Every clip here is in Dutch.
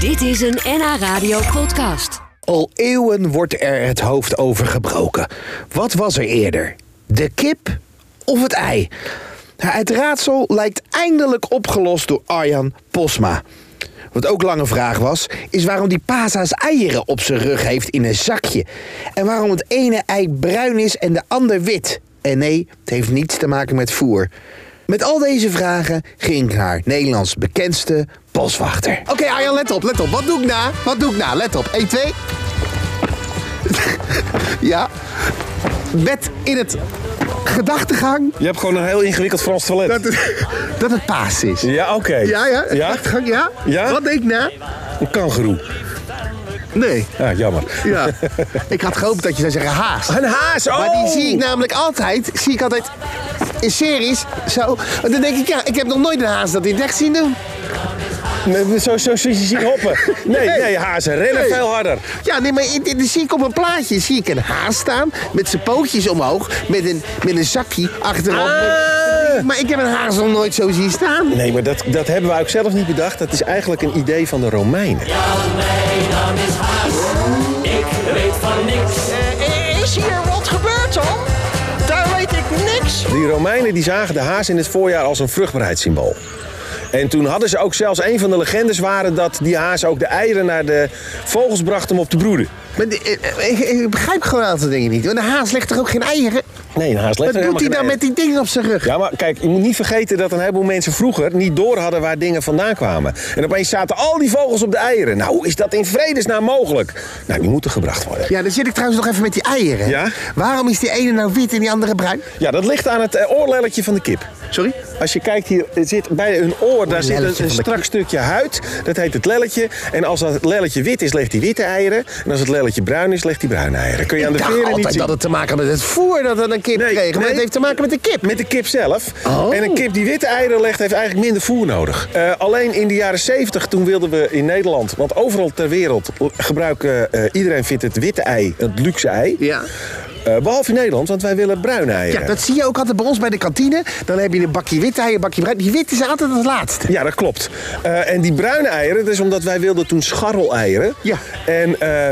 Dit is een NH Radio podcast. Al eeuwen wordt er het hoofd over gebroken. Wat was er eerder? De kip of het ei? Het raadsel lijkt eindelijk opgelost door Arjan Posma. Wat ook lange vraag was, is waarom die Pasa's eieren op zijn rug heeft in een zakje. En waarom het ene ei bruin is en de ander wit. En nee, het heeft niets te maken met voer. Met al deze vragen ging ik naar Nederlands bekendste boswachter. Oké, Arjan, let op, let op. Wat doe ik na? Wat doe ik na? Let op. 1, 2. ja. Met in het gedachtegang Je hebt gewoon een heel ingewikkeld Frans toilet. dat het, dat het paas is. Ja, oké. Ja, ja. het Ja? Gedachtegang, ja? Ja? Wat denk ik na? Een kangeroe. Nee. Ja, jammer. Ja. ik had gehoopt dat je zou zeggen haas. Een haas, oh! Maar die zie ik namelijk altijd, zie ik altijd in series zo. Dan denk ik, ja, ik heb nog nooit een haas dat in het echt zien doen. Nee, Zo, zo, zo zien hoppen. Nee, nou- Nee. nee, hazen rennen Nee. veel harder. Ja, nee, maar in- in- dan zie ik op een plaatje zie ik een haas staan met zijn pootjes omhoog, met een, met een zakje achterop. Ah. Maar ik heb een haas nog nooit zo zien staan. Nee, maar dat, dat hebben we ook zelf niet bedacht. Dat is eigenlijk een idee van de Romeinen. Mijn naam is Haas, ik weet van niks. Eh, is hier wat gebeurd dan? Daar weet ik niks Die Romeinen die zagen de haas in het voorjaar als een vruchtbaarheidssymbool. En toen hadden ze ook zelfs een van de legendes waren dat die haas ook de eieren naar de vogels bracht om op te broeden. Maar die- eh, eh, ik, ik begrijp gewoon een aantal dingen niet. Want een haas legt toch ook geen eieren? Nee, een haas legt Wat er doet hij helemaal nou geen met die dingen op zijn rug? Ja, maar kijk, je moet niet vergeten dat een heleboel mensen vroeger niet door hadden waar dingen vandaan kwamen. En opeens zaten al die vogels op de eieren. Nou, hoe is dat in vredesnaam mogelijk? Nou, die moeten gebracht worden. Ja, dan zit ik trouwens nog even met die eieren. Ja? Waarom is die ene nou wit en die andere bruin? Ja, dat ligt aan het eh, oorlelletje van de kip. Sorry? Als je kijkt hier, het zit bij hun oor, daar zit lelletje een, een van de strak stukje huid. Dat heet het lelletje. En als dat lelletje wit is, legt hij witte eieren. En als het lelletje bruin is, legt hij bruine eieren. Kun je aan ik de dacht veren niet altijd zien. dat het te maken had met het voer dat het een kip Nee, kreeg. Maar nee. het heeft te maken met de kip. Met de kip zelf. Oh. En een kip die witte eieren legt, heeft eigenlijk minder voer nodig. Eh, alleen in de jaren 70, toen wilden we in Nederland... want overal ter wereld gebruiken... eh, iedereen vindt het witte ei, het luxe ei. Ja. Eh, behalve in Nederland, want wij willen bruine eieren. Ja, dat zie je ook altijd bij ons bij de kantine. Dan heb je een bakje wit ei, een bakje bruin. Die wit is altijd het laatste. Ja, dat klopt. Eh, en die bruine eieren, dat is omdat wij wilden toen scharreleieren. Ja. En eh,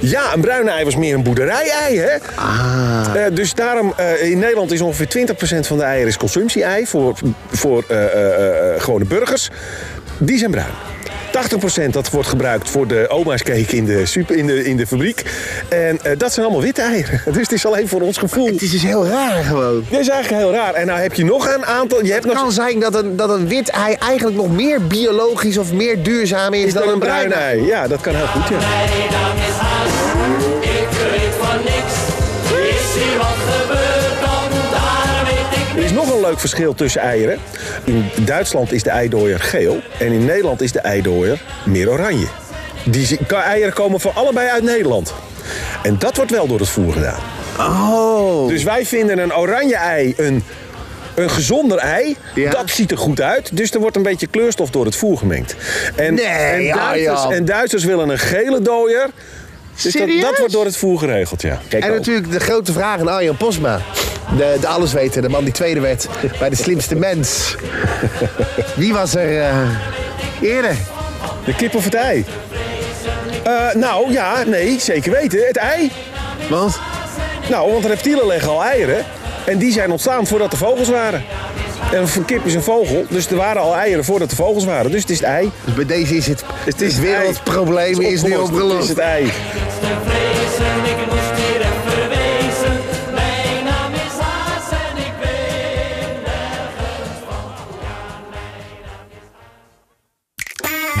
ja, een bruine ei was meer een boerderij-ei, hè? Ah. dus daarom, eh, in Nederland is ongeveer 20% van de eieren is consumptie-ei voor, voor eh, eh, eh, gewone burgers. Die zijn bruin. 80% dat wordt gebruikt voor de oma's cake in de, super, in de, in de fabriek. En eh, dat zijn allemaal witte eieren. Dus het is alleen voor ons gevoel. Het is dus heel raar gewoon. Dit is eigenlijk heel raar. En nou heb je nog een aantal... Je hebt Het nog kan zijn dat een, dat een wit ei eigenlijk nog meer biologisch of meer duurzaam is, is dan, een bruin ei. ei. Ja, dat kan heel goed, ja. Mijn naam is Haas, ik weet van niks. Is hier wat gebeurd dan? Daar weet ik Er is nog een leuk verschil tussen eieren. In Duitsland is de eidooier geel en in Nederland is de eidooier meer oranje. Die zi- ka- eieren komen van allebei uit Nederland. En dat wordt wel door het voer gedaan. Oh. Dus wij vinden een oranje ei een, een gezonder ei. Ja. Dat ziet er goed uit. Dus er wordt een beetje kleurstof door het voer gemengd. En, Nee, en, Duitsers, Arjan. en Duitsers willen een gele dooier. Dus dat, Serieus? dat wordt door het voer geregeld, ja. Kijk En al. natuurlijk de grote vraag aan Arjan Posma. De, de allesweter, de man die tweede werd bij de slimste mens. Wie was er eh, eerder? De kip of het ei? Eh, nou ja, nee, zeker weten. Het ei. Want? Nou, want reptielen leggen al eieren. En die zijn ontstaan voordat er vogels waren. En een kip is een vogel, dus er waren al eieren voordat er vogels waren. Dus het is het ei. Dus Dus bij deze is het, het, ei. wereldprobleem Het is nu opgelost. Het is opgelost. het ei. niks te vrezen. Ik moest hier even wezen. Mijn naam is Haas en ik weet nergens van. Ja, mijn naam is